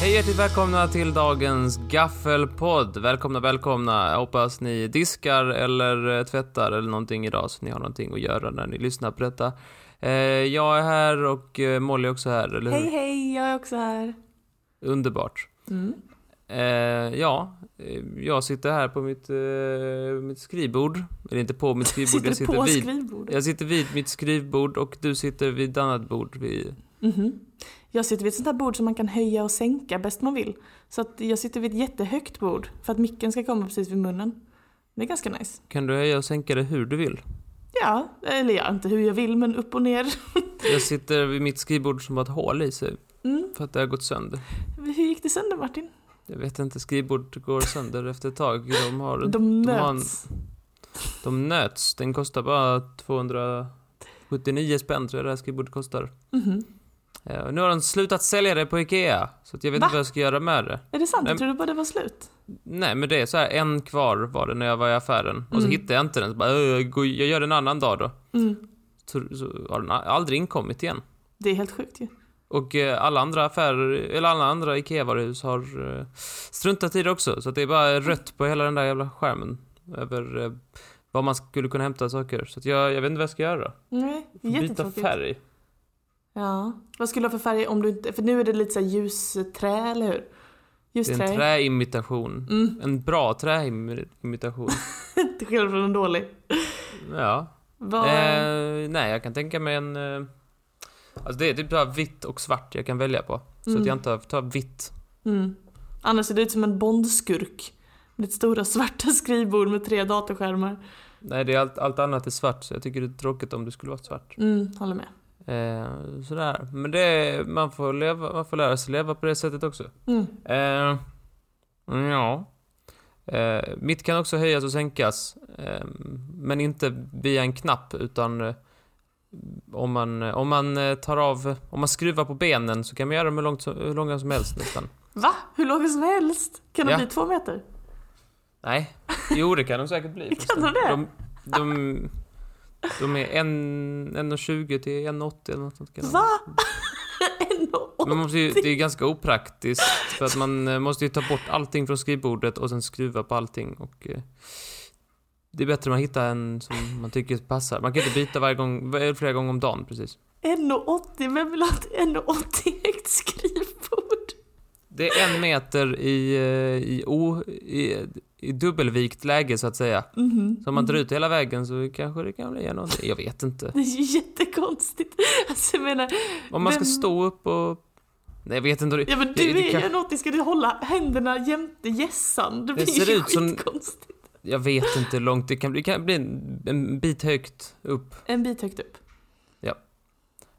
Hej hjärtligt välkomna till dagens gaffelpodd. Välkomna, välkomna. Jag hoppas ni diskar eller eh, tvättar eller någonting idag så ni har någonting att göra när ni lyssnar på detta. Eh, jag är här och eh, Molly är också här, eller hur? Hej hej, jag är också här. Underbart. Mm. Eh, ja, eh, jag sitter här på mitt, eh, mitt skrivbord. Eller inte på mitt skrivbord, Sitter, jag sitter på vid. skrivbordet. Jag sitter vid mitt skrivbord och du sitter vid ett annat bord. Vid... Mhm. Jag sitter vid ett sånt här bord som man kan höja och sänka bäst man vill. Så att jag sitter vid ett jättehögt bord för att micken ska komma precis vid munnen. Det är ganska nice. Kan du höja och sänka det hur du vill? Ja, eller ja, inte hur jag vill men upp och ner. Jag sitter vid mitt skrivbord som har ett hål i sig Mm. för att det har gått sönder. Hur gick det sönder Martin? Jag vet inte, skrivbord går sönder efter ett tag. De, har, de... De har en- möts. nöts. Den kostar bara 279 spänn tror jag det här skrivbordet kostar. Mhm. Eh, och nu har de slutat sälja det på Ikea. Så att jag vet Va? inte vad jag ska göra med det. Är det sant? Men- Jag trodde bara det var slut. Nej men det är så här, en kvar var det när jag var i affären. Och så Mm. hittade jag inte den. Så bara, "Ö, jag går- jag gör det en annan dag då. Mm. Så, så har den a- aldrig inkommit igen. Det är helt sjukt ju. Och eh, alla andra affärer, eller alla andra IKEA-varuhus har eh, struntat i det också. Så att det är bara rött på hela den där jävla skärmen. Över eh, var man skulle kunna hämta saker. Så att jag, jag vet inte vad jag ska göra. Nej, Byta jättetråkigt. färg. Ja. Vad skulle du ha för färg om du inte... För nu är det lite så här ljusträ, eller hur? Det Ljusträ. är en träimitation. Mm. En bra träimitation. Till skillnad från en dålig. ja. Vad... Eh, nej, jag kan tänka mig en... Eh, alltså det är typ bara vitt och svart jag kan välja på. Så att Mm. jag inte tar vitt. Mm. Annars ser det ut som en bondskurk. Med ett stora svarta skrivbord med tre datorskärmar. Nej, det är allt, allt annat är svart. Så jag tycker det är tråkigt om det skulle vara svart. Mm, håller med. Eh, sådär. Men det, man, får leva, man får lära sig leva på det sättet också. Mm. Eh, ja. Eh, mitt kan också höjas och sänkas. Eh, men inte via en knapp utan eh, om man, om man eh, tar av, om man skruvar på benen så kan man göra dem hur, långt, som- hur långa som helst nästan. Va? Hur långa som helst? Kan de Ja. bli två meter? Nej. Jo, det kan de säkert bli. förresten. de det? De, de, de är en- 1,20 till 1,80 eller något sånt. kan de Va? en och... Man måste ju, det är ganska opraktiskt för att man eh, måste ju ta bort allting från skrivbordet och sen skruva på allting och eh, det är bättre att man hittar en som man tycker passar. Man kan inte byta varje gång, eller flera gånger om dagen precis. En och 80? Vem vill ha ett en och 80 högt skrivbord? Det är en meter i, eh, i, o, i, i dubbelvikt läge så att säga. Mhm. Så om man drar ut hela vägen så kanske det kan bli någonting. Jag vet inte. Det är ju jättekonstigt. Alltså jag menar, Om man ska Vem- stå upp och... Nej jag vet inte. hur det- ja men det- du det är ju kan- en 80, ska du hålla händerna jämte hjässan? Det Det blir ser ju ut som- skitkonstigt. Jag vet inte hur långt det kan bli. Det kan bli en, en bit högt upp. En bit högt upp.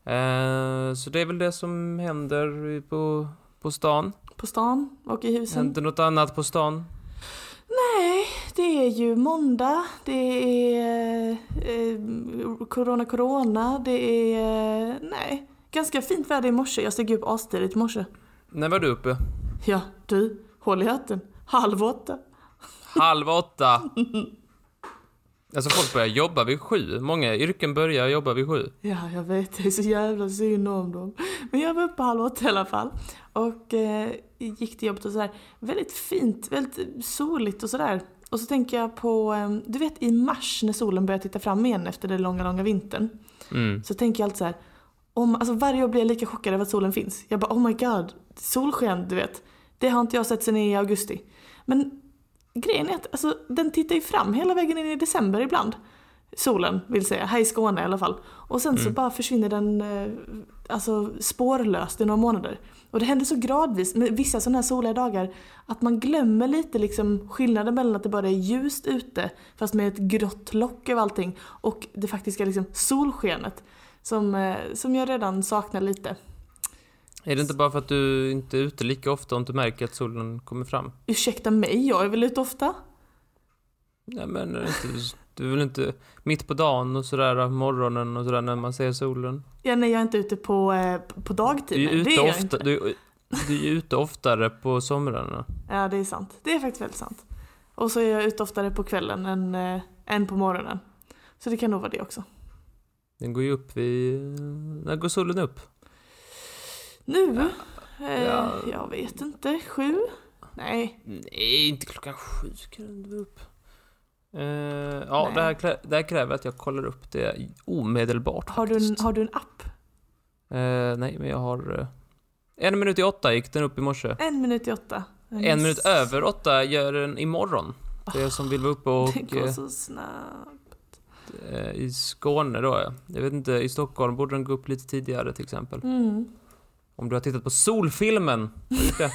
Eh, så det är väl det som händer på, på stan. På stan och i husen. Händer något annat på stan? Nej, det är ju måndag, det är eh, corona, corona, det är... Eh, nej. Ganska fint väder i morse. Jag steg upp astidigt i morse. När var du uppe? Ja, du. Håll i hatten. Halv åtta. Halv åtta! Alltså folk börjar jobba vid sju. Många yrken börjar jobba vid sju. Ja, jag vet. Det är så jävla synd om dem. Men jag var uppe halv åtta i alla fall. Och eh, gick till jobbet och sådär. Väldigt fint, väldigt soligt och sådär. Och så tänker jag på, eh, du vet i mars när solen börjar titta fram igen efter den långa, långa vintern. Mm. Så tänker jag alltid så här, om, alltså varje år blir jag lika chockad över att solen finns. Jag bara oh my god, solsken du vet. Det har inte jag sett sedan i augusti. Men grejen är att alltså, den tittar ju fram hela vägen in i december ibland. Solen vill säga, här i Skåne i alla fall. Och sen så Mm. bara försvinner den eh, alltså, spårlöst i några månader. Och det händer så gradvis med vissa sådana här soliga dagar att man glömmer lite liksom skillnaden mellan att det bara är ljust ute fast med ett grått lock över allting och det faktiska liksom solskenet som, eh, som jag redan saknar lite. Är det inte bara för att du inte är ute lika ofta och inte märker att solen kommer fram? Ursäkta mig, jag är väl ute ofta? Nej men är det inte, du vill inte mitt på dagen och sådär, morgonen och sådär när man ser solen? Ja, nej, jag är inte ute på, eh, på Du dagtid. är nej, det ute, jag ofta, inte. du, du är ute oftare på somrarna. Ja, det är sant. Det är faktiskt väldigt sant. Och så är jag ute oftare på kvällen än, eh, än på morgonen. Så det kan nog vara det också. Den går ju upp vid... När går solen upp? Nu Eh, Ja. Jag vet inte, sju? Nej. Nej, inte klockan sju kan du inte vara upp. Eh, ja, Nej. det här, klä, det här kräver att jag kollar upp det omedelbart Har du, en, faktiskt. har du en app? Eh, nej, men jag har... eh, En minut i åtta gick den upp i morse. En minut i åtta. En minut över åtta gör den imorgon. Det är som vill vara uppe Det och går eh, så snabbt. eh, i Skåne då ja. Jag vet inte, i Stockholm borde den gå upp lite tidigare till exempel. Mm. Om du har tittat på Solfilmen, har du gjort det?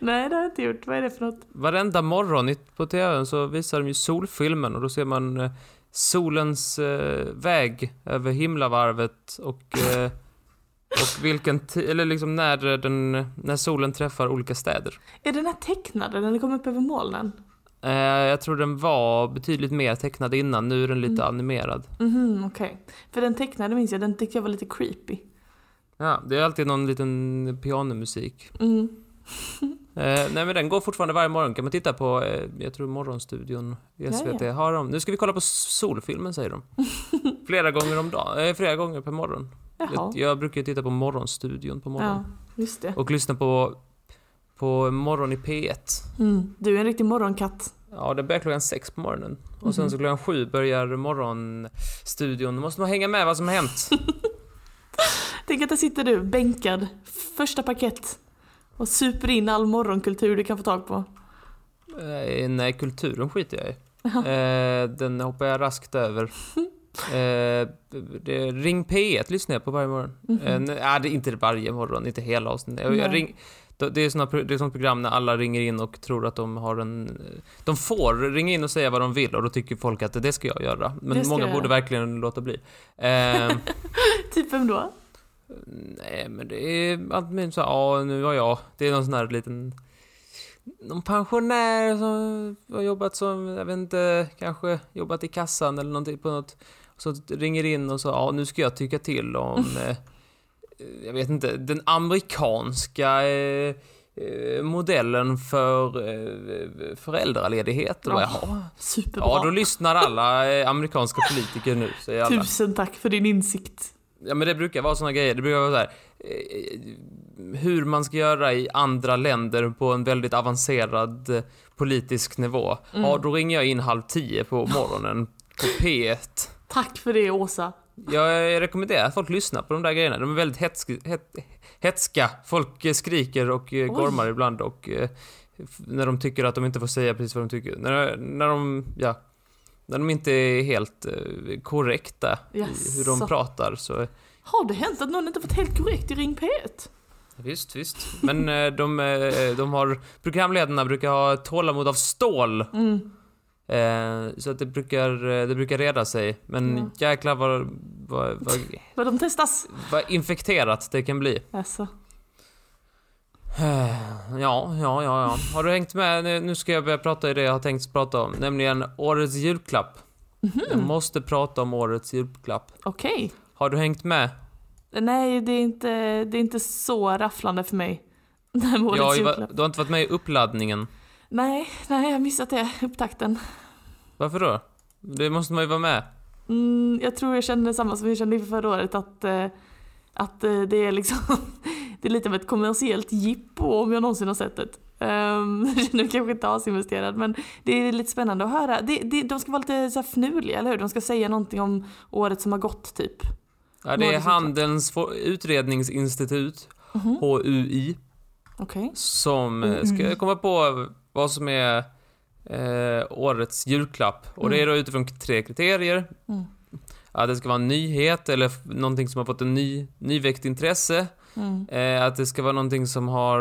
Nej, det har jag inte gjort. Vad är det för något? varenda morgon i- på TVn så visar de ju Solfilmen och då ser man eh, solens eh, väg över himlavarvet och, eh, och vilken ti- eller liksom när, eh, den, när solen träffar olika städer. Är den här tecknad? eller Den kom upp över molnen? Eh, jag tror den var betydligt mer tecknad innan, nu är den lite Mm. animerad. Mhm, okej. För den tecknade minns jag, den tyckte jag var lite creepy. Ja, det är alltid någon liten pianomusik. Mm. Eh, nej men den går fortfarande varje morgon, kan man titta på, eh, jag tror Morgonstudion i SVT Ja, har dem. Nu ska vi kolla på s- Solfilmen säger de. flera gånger om dagen, eh, flera gånger per morgon. Jaha. Jag, jag brukar ju titta på Morgonstudion på Ja, morgonen. just det. Och lyssna på, på Morgon i P1. Mm. Du är en riktig morgonkatt. Ja, det börjar klockan sex på morgonen. Och sen Mhm. så klockan sju börjar Morgonstudion. Då måste man hänga med vad som har hänt. Tänk att där sitter du, bänkad, första paket och super in all morgonkultur du kan få tag på. Eh, nej, kulturen skiter jag i. Eh, den hoppar jag raskt över. Eh, det, ring P1 lyssnar jag på varje morgon. Eh, nej, nej, det är inte varje morgon, inte hela avsnittet. Jag, jag Mhm. Nej. ring, det, det är såna, pro- det är sånt program när alla ringer in och tror att de har en... eh, De får ringa in och säga vad de vill och då tycker folk att det ska jag göra. Det Men ska många jag borde göra. verkligen låta bli. Eh, Typ vem då? Nej, men det är att men så här, ja, nu har jag. Det är någon sån här liten någon pensionär som har jobbat som, jag vet inte, kanske jobbat i kassan eller någonting på något. Så ringer in och så, ja, nu ska jag tycka till om, eh, jag vet inte, den amerikanska eh, eh, modellen för eh, föräldraledighet. Och bara, Ja, jaha. Superbra. Ja, då lyssnar alla eh, amerikanska politiker nu, säger alla. Tusen tack för din insikt. Ja men det brukar vara såna grejer. Det brukar vara så här, eh, hur man ska göra i andra länder på en väldigt avancerad eh, politisk nivå. Mm. Ja, då ringer jag in halv tio på morgonen på P1. Tack för det Åsa. Jag rekommenderar att folk lyssnar på de där grejerna. De är väldigt hetsk, het, hetska. Folk eh, skriker och eh, Oj. gormar ibland och eh, f- när de tycker att de inte får säga precis vad de tycker. När, när de, ja, när de inte är helt eh, korrekta i hur Jaså. de pratar så Har det hänt att någon inte fått helt korrekt i Ring P1? Visst, visst. Men eh, de, eh, de har, programledarna brukar ha tålamod av stål. Mm. Eh, Så att det brukar, eh, det brukar reda sig. Men Ja. jäklar vad, vad, vad, Vad de testas? vad infekterat det kan bli. Alltså. Eh, Ja, ja, ja, ja. Har du hängt med? Nu- Nu ska jag börja prata i det jag har tänkt prata om. Nämligen årets julklapp. Jag Mm. måste prata om årets julklapp. Mhm. Okej. Har du hängt med? Nej, det är, inte, det är inte så rafflande för mig. Det här med årets Jag har ju va- julklapp. du har inte varit med i uppladdningen. Nej, nej, jag har missat det. Upptakten. Varför då? Det måste man ju vara med. Mm, jag tror jag känner samma som jag kände inför förra året att, eh, att eh, det är liksom det är lite av ett kommersiellt jippo om jag någonsin har sett det. Um, jag känner mig kanske inte asinvesterad men det är lite spännande att höra. Det, det, de ska vara lite så här fnuliga, eller hur? De ska säga någonting om året som har gått typ. Ja, det Vad är är det som- Handelns for- utredningsinstitut, Mhm. HUI, Okej. som eh, ska Mm. komma på vad som är eh, årets julklapp. Och det är då utifrån k- tre kriterier. Mm. Att det ska vara en nyhet eller f- någonting som har fått en ny, nyväckt intresse. Mm. Eh, att det ska vara någonting som har,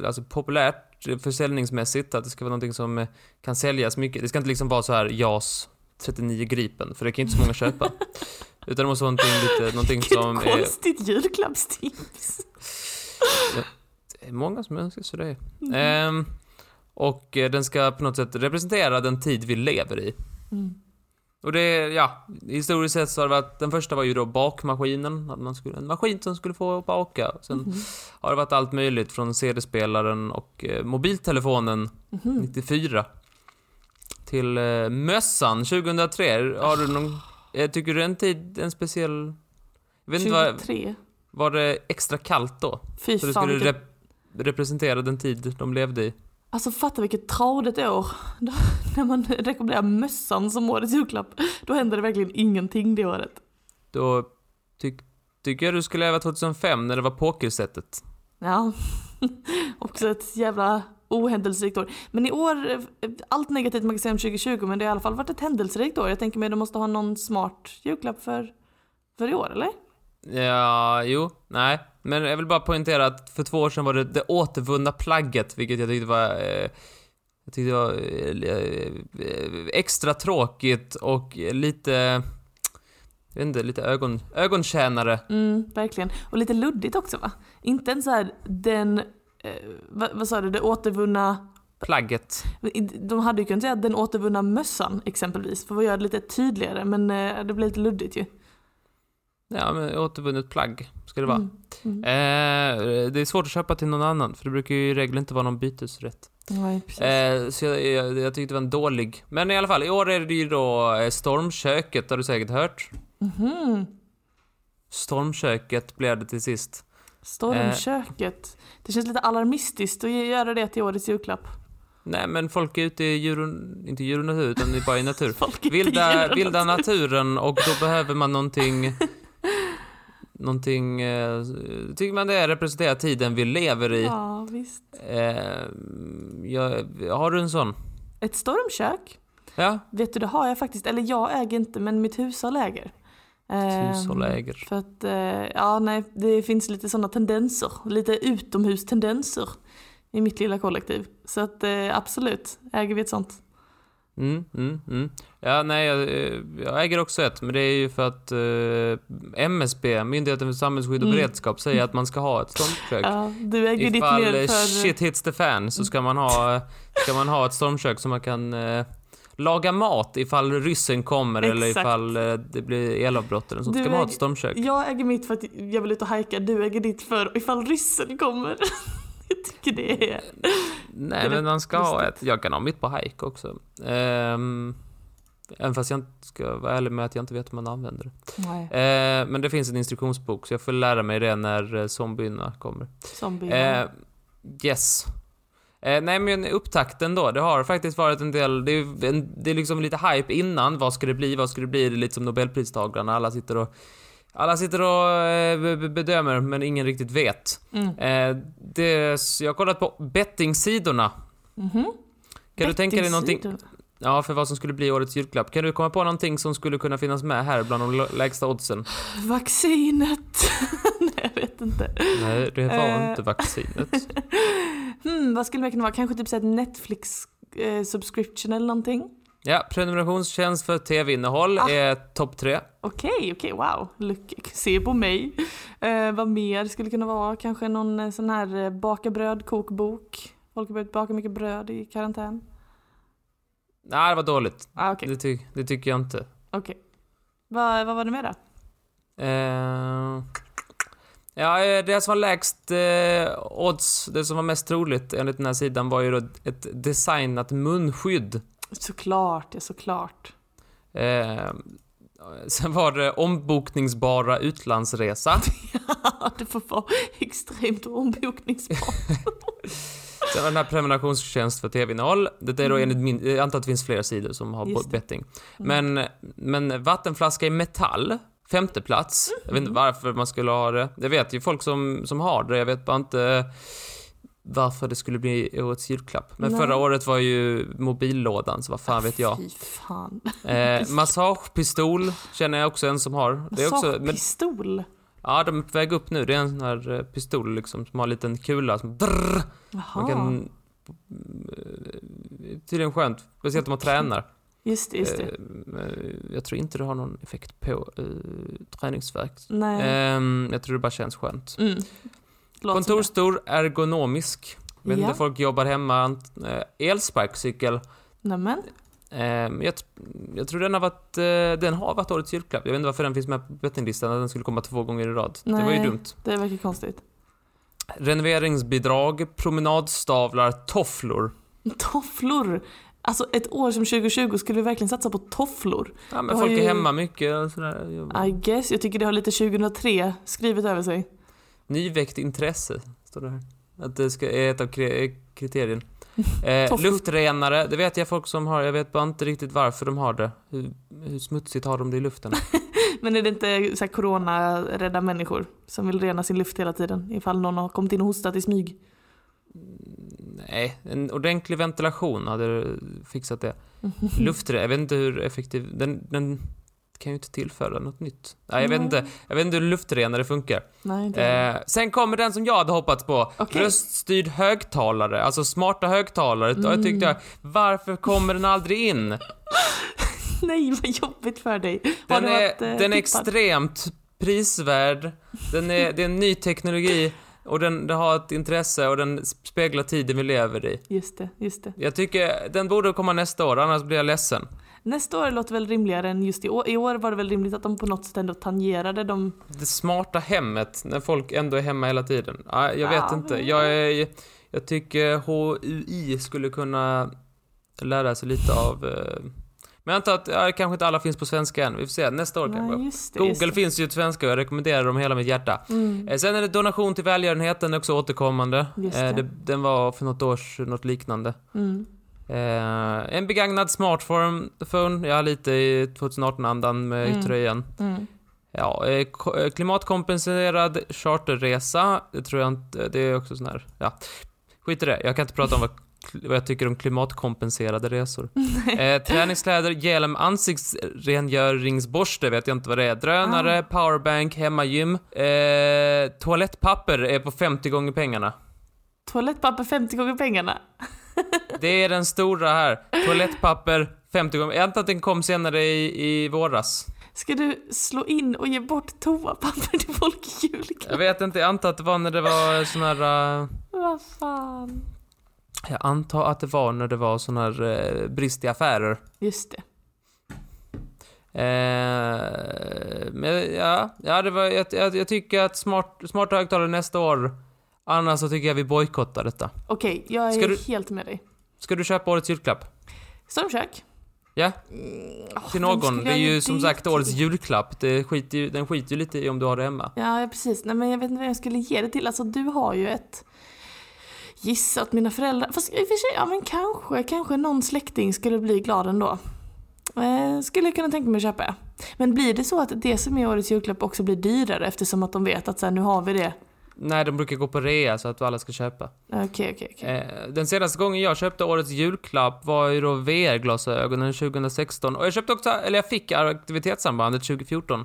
eh, alltså populärt eh, försäljningsmässigt, att det ska vara någonting som eh, kan säljas mycket. Det ska inte liksom vara så här JAS 39 Gripen, för det kan ju inte så många köpa. Utan det måste vara någonting, lite, någonting Vilket som är konstigt julklappstips. Det är många som önskar sig det. Mm. Ehm, och eh, den ska på något sätt representera den tid vi lever i. Mm. Och det, ja, historiskt sett så har det varit, den första var ju då bakmaskinen, att man skulle, en maskin som skulle få baka. Sen Mhm. har det varit allt möjligt från CD-spelaren och eh, mobiltelefonen Mhm. 94 till eh, mössan 2003. Har du någon, eh, tycker du en tid, en speciell... Jag vet inte vad, 23. Var det extra kallt då? Fy Så det fan skulle vilket... rep- representera den tid de levde i? Alltså fatta vilket tradigt år. Då, när man rekommenderar mössan som årets julklapp. Då händer det verkligen ingenting det året. Då ty- tycker jag du skulle leva 2005 när det var pokersättet. Ja, också ett jävla ohändelserikt år. Men i år, eh, allt negativt man kan säga om 2020, men det har i alla fall varit ett händelserikt år. Jag tänker mig att de måste ha någon smart julklapp för, för i år, eller? Ja, jo, nej. Men jag vill bara poängtera att för två år sedan var det det återvunna plagget, vilket jag tyckte var... Eh, jag tyckte det var eh, eh, extra tråkigt och lite... Jag vet inte, lite ögon, ögontjänare. Mm, verkligen. Och lite luddigt också va? Inte en så här den, eh, vad, vad sa du, det återvunna Plagget. de hade ju kunnat säga den återvunna mössan exempelvis, för att göra det lite tydligare, men eh, det blev lite luddigt ju. Ja, men återvunnet plagg ska det vara. Mm, mm. Eh, det är svårt att köpa till någon annan, för det brukar ju i regel inte vara någon bytesrätt. Nej, precis. Eh, så jag, jag, jag tyckte det var en dålig. Men i alla fall, i år är det ju då eh, Stormköket, har du säkert hört. Mhm. Stormköket blev det till sist. eh. Stormköket. Det känns lite alarmistiskt att ge- göra det till årets julklapp. Nej, men folk är ute i djuren, inte djur och natur, utan det är bara i natur. Folk är Vilda, djur. vilda naturen och då behöver man någonting Någonting, eh, tycker man det representerar tiden vi lever i. Ja, visst. Eh, jag, har du en sån? Ett stormkök? Ja, Vet du, det har jag faktiskt. Eller jag äger inte, men mitt hushåll äger. Ehm, hushåll äger. För att, eh, ja nej, det finns lite sådana tendenser. Lite utomhustendenser i mitt lilla kollektiv. Så att eh, absolut, äger vi ett sånt. Mm, mm, mm. Ja, nej, jag, eh, jag äger också ett, men det är ju för att eh, MSB, Myndigheten för samhällsskydd och Mm. beredskap, säger att man ska ha ett stormkök. Ja, du äger ju ditt Ifall mer eh, för... shit hits the fan så ska man ha, eh, ska man ha ett stormkök så man kan eh, laga mat ifall ryssen kommer eller Exakt. ifall eh, det blir elavbrott eller sånt. Du Ska man ha ett äger- stormkök? Jag äger mitt för att jag vill ut och hajka, du äger ditt för ifall ryssen kommer. jag tycker det är... Nej, är men rätt man ska ha ett. lustigt. Jag kan ha mitt på hike också. Ehm, även fast jag inte ska vara ärlig med att jag inte vet hur man använder det. Nej, Eh, men det finns en instruktionsbok så jag får lära mig det när eh, zombierna kommer. zombie. Eh, yes. Eh, nej men upptakten då, det har faktiskt varit en del, det är, ju en, det är liksom lite hype innan, vad ska det bli, vad ska det bli, det är lite som nobelpristagarna, alla sitter och alla sitter och eh, be- be- bedömer men ingen riktigt vet. Mm. Eh, det, så jag har kollat på bettingsidorna. Mhm. Kan du tänka dig någonting, Bettingsidor. ja för vad som skulle bli årets julklapp, kan du komma på någonting som skulle kunna finnas med här bland de lo- lägsta oddsen? Vaccinet. nej, jag vet inte. Nej, det var Eh. inte vaccinet. Hmm, vad skulle det kunna vara? Kanske typ så här Netflix eh, subscription eller någonting? Ja, prenumerationstjänst för tv-innehåll Ah. är topp tre. Okej, okej, wow. Look, se på mig. Eh, vad mer skulle det kunna vara? Kanske någon eh, sån här eh, baka bröd kokbok. Folk har börjat baka mycket bröd i karantän. Nej, det var dåligt. Ah, okej, Det, ty- det tycker jag inte. okej. Vad vad var det med då? Eh, ja, eh, det som var lägst eh, odds, det som var mest troligt enligt den här sidan var ju då ett designat munskydd. Såklart, ja såklart. Eh, sen var det ombokningsbara utlandsresa. det får vara extremt ombokningsbart. Sen var det den här prenumerationstjänst för tv-innehåll. Det är då Mm. enligt min, jag antar att det finns flera sidor som har Just det. betting. Mm. Men, men vattenflaska i metall, femte plats. Jag vet inte Mm. varför man skulle ha det. Jag vet ju folk som, som har det, jag vet bara inte varför det skulle bli årets julklapp. Men Nej. förra året var ju mobillådan, så vad fan vet jag. Fy fan. Eh, massagepistol känner jag också en som har. Det är också, men, Pistol. ja, de är på väg upp nu. Det är en sån här eh, pistol liksom, som har en liten kula som Jaha. man kan... eh, Tydligen skönt, speciellt om man tränar. Just det, just det. Eh, men Jag tror inte det har någon effekt på eh, träningsvärk. Nej. Ehm, jag tror det bara känns skönt. Mm. Låter som Kontorsstor, ergonomisk. Vet Ja. inte, folk jobbar hemma. ant- eh, Elsparkcykel. det. Nämen. Ehm, jag, t- jag tror den har varit, eh, den har varit årets julklapp. Jag vet inte varför den finns med på bettinglistan, att den skulle komma två gånger i rad. Det var ju Nej. dumt. Det verkar konstigt. Renoveringsbidrag, promenadstavlar, tofflor. Tofflor. Alltså ett år som 2020 skulle vi verkligen satsa på tofflor. Ja, men Jag har folk är ju- hemma mycket och sådär. I guess. Jag tycker det har lite 2003 skrivet över sig. Nyväckt intresse, står det här. Att det ska, är ett av kri- kriterierna. Eh, Tofflor. luftrenare, det vet jag folk som har. Jag vet bara inte riktigt varför de har det. Hur, hur smutsigt har de det i luften? Men är det inte så här corona-rädda människor som vill rena sin luft hela tiden ifall någon har kommit in och hostat i smyg? Nej, en ordentlig ventilation hade fixat det. Mm. Luftrenare, jag vet inte hur effektiv... Den, den kan ju inte tillföra något nytt. Nej, jag vet Nej. inte. Jag vet inte hur luftrenare funkar. Nej, inte jag. Eh, sen kommer den som jag hade hoppats på. Okej. Röststyrd högtalare, alltså smarta högtalare. Då Mm. tyckte jag, varför kommer den aldrig in? Nej, vad jobbigt för dig. Har Den du är, varit, eh, den är tippad? extremt prisvärd, den är, det är en ny teknologi och den, den har ett intresse och den speglar tiden vi lever i. Just det, just det. Jag tycker den borde komma nästa år, annars blir jag ledsen. Nästa år låter väl rimligare än just i år. I år var det väl rimligt att de på något sätt ändå tangerade de... Det smarta hemmet, när folk ändå är hemma hela tiden. Nej, jag vet Ja, inte. men- Jag, är, jag tycker HUI skulle kunna lära sig lite av... eh, Men jag antar att ja, kanske inte alla finns på svenska än. Vi får se, nästa år kanske. Nej, just det, just Google finns ju på svenska och jag rekommenderar dem hela mitt hjärta. det. Mm. Eh, Sen är det donation till välgörenheten också återkommande. Just Eh, det. den var för något år sedan, något liknande. Mm. Eh, en begagnad smartphone, phone. jag har lite i 2018-andan med Mm. tröjan. Mm. Ja, eh, ko- eh, klimatkompenserad charterresa, det tror jag inte, det är också sån här, ja. Skit i det, jag kan inte prata om vad, kl- vad jag tycker om klimatkompenserade resor. Eh, träningskläder, hjälm, ansiktsrengöringsborste vet jag inte vad det är, drönare, powerbank, hemmagym, eh, toalettpapper är på 50 gånger pengarna. Toalettpapper 50 gånger pengarna. Det är den stora här, toalettpapper 50 gånger, jag antar att den kom senare i, i våras. Ska du slå in och ge bort toapapper till folk i Jag julklapp? vet inte, jag antar att det var när det var sån här eh, Vad fan. Jag antar att det var när det var sån här eh, brist i affärer. Just det. Eh, men ja, ja det var, jag, jag, jag tycker att smart, smarta högtalare nästa år. Annars så tycker jag vi bojkottar detta. Okej, jag är Ska du- helt med dig. Ska du köpa årets julklapp? Stormkök? Ja. Mm, åh, Till vem någon. skulle Det är jag ge ju som det sagt till? årets julklapp. Det skiter ju, den skiter ju lite i om du har det hemma. Ja, ja, precis. Nej, men jag vet inte vem jag skulle ge det till. Alltså, du har ju ett... Gissa att mina föräldrar... Fast i och för sig, ja men kanske, kanske någon släkting skulle bli glad ändå. Eh, skulle jag kunna tänka mig att köpa. ja. Men blir det så att det som är årets julklapp också blir dyrare eftersom att de vet att så här, nu har vi det? Nej, de brukar gå på rea så att alla ska köpa. Okej, okej, okej. Eh, den senaste gången jag köpte årets julklapp var ju då VR-glasögonen 2016. Och jag köpte också, eller jag fick aktivitetssambandet 2014.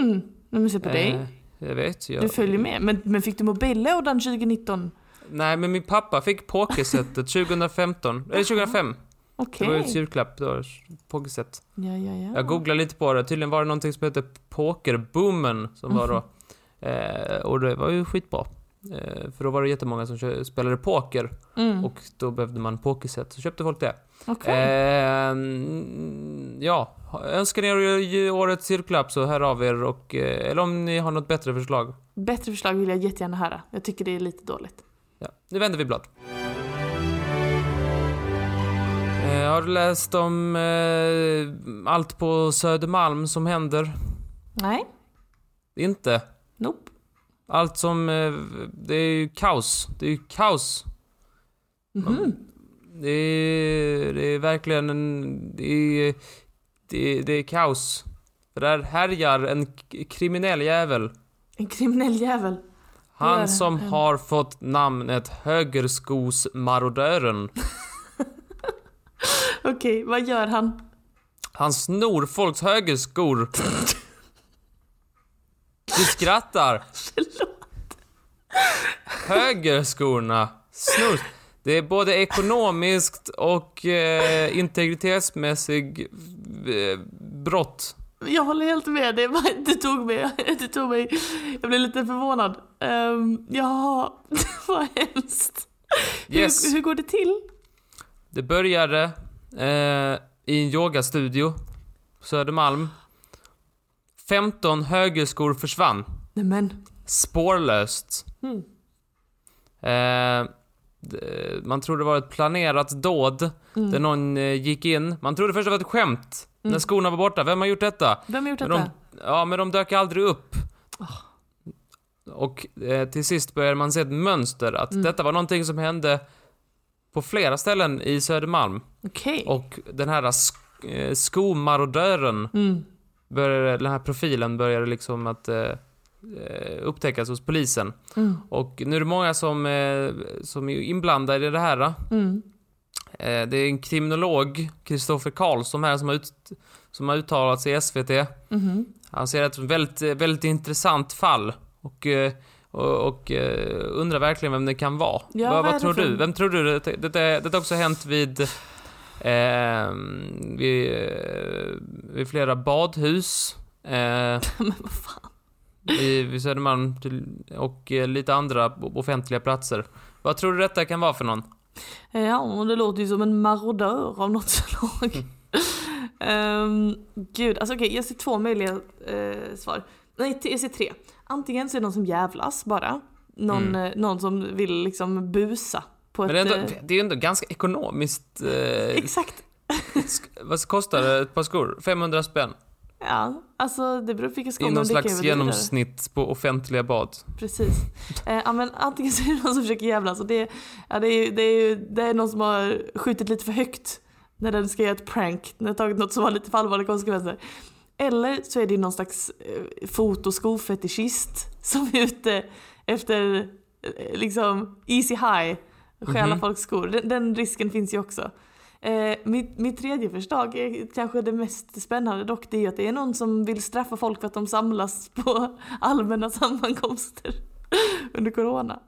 Mm, nu måste jag på dig. Eh, jag vet. Jag... Du följer med. Men, men fick du mobillådan 2019? Nej, men min pappa fick pokersetet 2015. Eller 2005. Det Okej. var ju ett julklapp då. Pokerset. Ja, ja, ja. Jag googlade lite på det. Tydligen var det någonting som hette Pokerboomen som var Mhm. då. Eh, och det var ju skitbra. Eh, för då var det jättemånga som kö- spelade poker Mm. och då behövde man pokerset. Så köpte folk det. Okej. Eh, mm, ja, önskar ni er ju årets julklapp så hör av er och eh, eller om ni har något bättre förslag. Bättre förslag vill jag jättegärna höra. Jag tycker det är lite dåligt. Ja, nu vänder vi blad. Eh, har du läst om eh, allt på Södermalm som händer? Nej, Inte. nope. Allt som... Eh, det är ju kaos. Det är ju kaos. Mhm. Det är, det är verkligen en... Det är, det är, det är kaos. För där härjar en k- kriminell jävel. En kriminell jävel. Där. Han som har fått namnet Högerskosmarodören. Okej, vad gör han? Han snor folks högerskor. Du skrattar. Förlåt. Högerskorna. Snor. Det är både ekonomiskt och eh, integritetsmässig eh, brott. Jag håller helt med dig. Vad- Du tog mig. Du tog mig. Jag blev lite förvånad. Um, jaha, vad hemskt. Yes. Hur, hur går det till? Det började eh, i en yogastudio på Södermalm. 15 högerskor försvann. Nej men. Spårlöst. Mm. Eh, d- eh, man trodde det var ett planerat dåd där Mm. någon eh, gick in. Man trodde först att det var ett skämt när skorna var borta. Vem har gjort detta? Vem har gjort Men detta? de, ja, men de dök aldrig upp. Och eh, till sist började man se ett mönster att detta var någonting som hände på flera ställen i Södermalm. Okej. Och den här sk- eh, skomarodören, Mm. började, den här profilen började liksom att eh, eh, upptäckas hos polisen. Mm. Och nu är det många som, eh, som är inblandade i det här. Eh, Mm. det är en kriminolog, Kristoffer Karlsson här, som har, ut, som har uttalat sig i SVT. Mhm. Han ser ett väldigt, eh, väldigt intressant fall. Och, eh, och, och eh, undrar verkligen vem det kan vara. Ja, vad, vad är vad det tror för- du? Vem tror du? Det, det, det, det har också hänt vid, eh, vid, eh, vid flera badhus. Eh, Men vad fan. i, vid Södermalm till, och eh, lite andra o- offentliga platser. Vad tror du detta kan vara för någon? Ja, och det låter ju som en marodör av något slag. Ehm, gud, alltså okej, jag ser två möjliga eh, svar. Nej, t- jag ser tre. Antingen så är det någon som jävlas bara. Någon, eh, någon som vill liksom busa. På Mm. Men det är ett, ändå, eh, det är ändå ganska ekonomiskt. Eh, Exakt. sk- vad kostar det? ett par skor? 500 spänn? Ja, alltså det beror på vilka skor I men någon det kan ju slags vara dyrare. genomsnitt på offentliga bad. Precis. Eh, ja, men antingen så är det någon som försöker jävlas och det, ja, det, är, ju- det, är, ju- det är någon som har skjutit lite för högt när den ska göra ett prank, när den tagit något som har lite för allvarliga konsekvenser. Eller så är det ju någon slags eh, fotoskofetischist som är ute efter eh, liksom easy high, stjäla Mhm. folks skor. Den, den risken finns ju också. Eh, mitt, mitt tredje förslag är kanske det mest spännande dock, det är ju att det är någon som vill straffa folk för att de samlas på allmänna sammankomster under corona.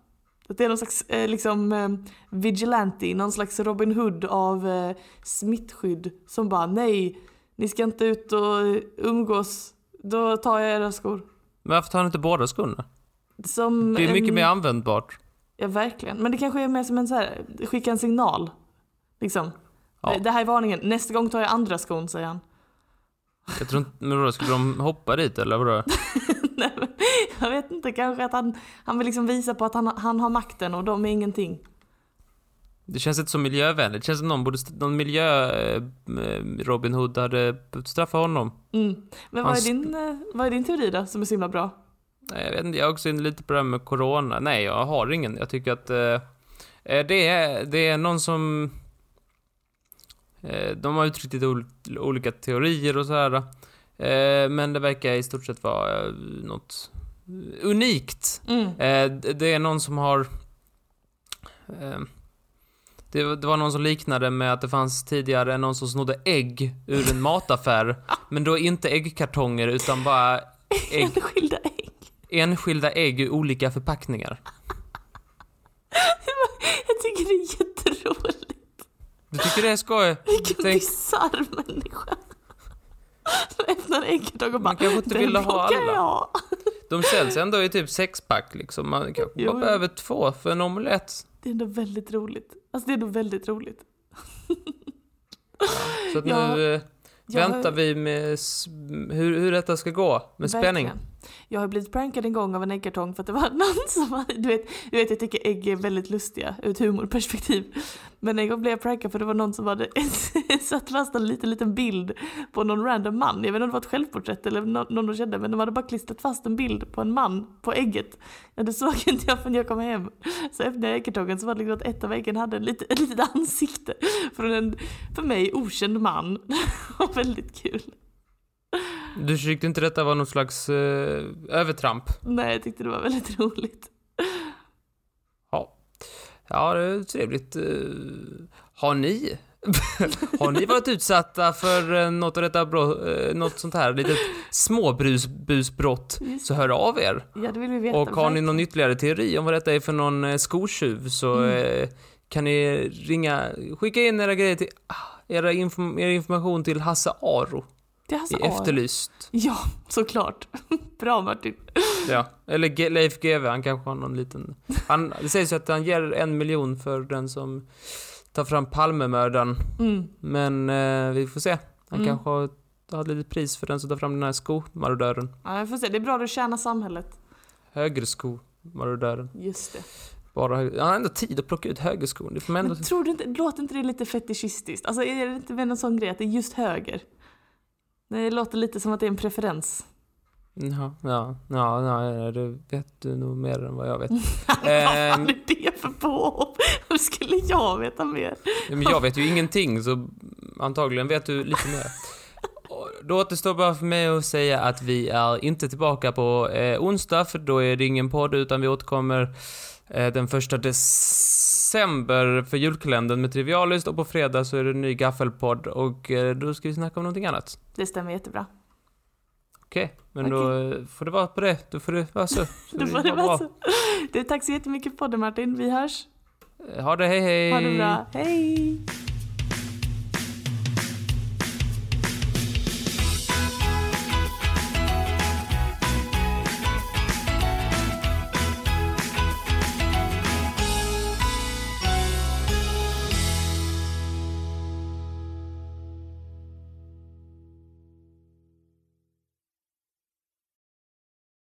Att det är någon slags eh, liksom, eh, vigilante, någon slags Robin Hood av eh, smittskydd som bara nej, ni ska inte ut och umgås, då tar jag era skor. Men varför tar han inte båda skorna? Som Det är mycket en, mer användbart. Ja, verkligen. Men det kanske är mer som en så här, skicka en signal. Liksom. Ja. Det- Det här är varningen, nästa gång tar jag andra skon, säger han. Jag tror inte, men då skulle de hoppa dit eller vadå? Nej, men jag vet inte, kanske att han, han vill liksom visa på att han, han har makten och de är ingenting. Det känns inte så miljövänligt. Det känns som någon borde, någon miljö eh, Robin Hood hade straffat honom. Mm. Han Men vad är, st- din, eh, vad är din teori då, som är så himla bra? Nej, Jag vet inte, jag är också inne lite på det här med corona. Nej, jag har ingen. Jag tycker att eh, eh, det, är, det är någon som... Eh, de har uttryckt lite ol, olika teorier och sådär. Eh, men det verkar i stort sett vara eh, något unikt Mm. Eh, d- det är någon som har... Eh, det, var- det var någon som liknade med att det fanns tidigare någon som snodde ägg ur en mataffär. men då inte äggkartonger utan bara ägg, Enskilda ägg. enskilda ägg ur olika förpackningar. Jag tycker det är jätteroligt. Du tycker det är skoj? Vilken Tänk- bisarr människa. Som öppnar ägget och bara Man kanske inte "Den ville ha plockar alla." Jag. De säljs ändå i typ sexpack liksom. Man kanske Jo, bara jo. behöver två för en omelett. Det är ändå väldigt roligt. Alltså det är ändå väldigt roligt. Så att Ja, nu eh, jag- väntar vi med s- hur, hur detta ska gå med spänning. Verkligen. Jag har blivit prankad en gång av en äggkartong för att det var någon som hade, du vet, du vet jag tycker ägg är väldigt lustiga ur ett humorperspektiv. Men en gång blev jag prankad för det var någon som hade satt fast en liten, liten bild på någon random man. Jag vet inte om det var ett självporträtt eller nå- någon de kände men de hade bara klistrat fast en bild på en man på ägget. Ja, det såg inte jag förrän jag kom hem. Så öppnade jag äggkartongen så var det liksom att ett av äggen hade en lite, ett litet ansikte från en för mig okänd man. Och väldigt kul. Du tyckte inte detta var någon slags eh, övertramp? Nej, jag tyckte det var väldigt roligt. Ja, det är trevligt. Eh, Har ni? har ni varit utsatta för eh, något, av detta bro- eh, något sånt här litet småbusbrott? Just Så hör av er. Ja, det vill vi veta. Och har ni verkligen. någon ytterligare teori om vad detta är för någon eh, skotjuv så eh, kan ni ringa, skicka in era grejer till, ah, era inform- er information till Hasse Aro Det är alltså i Aron. Efterlyst. Ja, såklart. Bra Martin. Ja. Eller G- Leif GW, han kanske har någon liten... Han, det sägs ju att han ger en miljon för den som tar fram Palmemördaren. Mm. Men eh, vi får se. Han Mm. kanske har, har ett litet pris för den som tar fram den här skomarodören. Ja, jag får se. Det är bra, du tjänar samhället. Högerskomarodören. Just det. Bara höger... Han har ändå tid att plocka ut högerskon. Det får man ändå... Men tror du inte, låter inte det lite fetischistiskt? Alltså är det inte med någon sån grej att det är just höger? Nej, det låter lite som att det är en preferens. Ja, ja, ja, ja, det vet du nog mer än vad jag vet. vad Ehm. fan är det för påhopp? Hur skulle jag veta mer? Ja, Men jag vet ju ingenting, så antagligen vet du lite mer. Och Då återstår bara för mig att säga att vi är inte tillbaka på eh, onsdag, för då är det ingen podd, utan vi återkommer eh, den första december för julkalendern med Trivialist och på fredag så är det en ny gaffelpodd och eh, då ska vi snacka om någonting annat. Det stämmer jättebra. Okej, men då eh, får det vara på det. Då får det vara så. så Då vi- får det ha vara bra. så. Du, tack så jättemycket för podden Martin. Vi hörs. Ha det, hej hej! Ha det bra. Hej!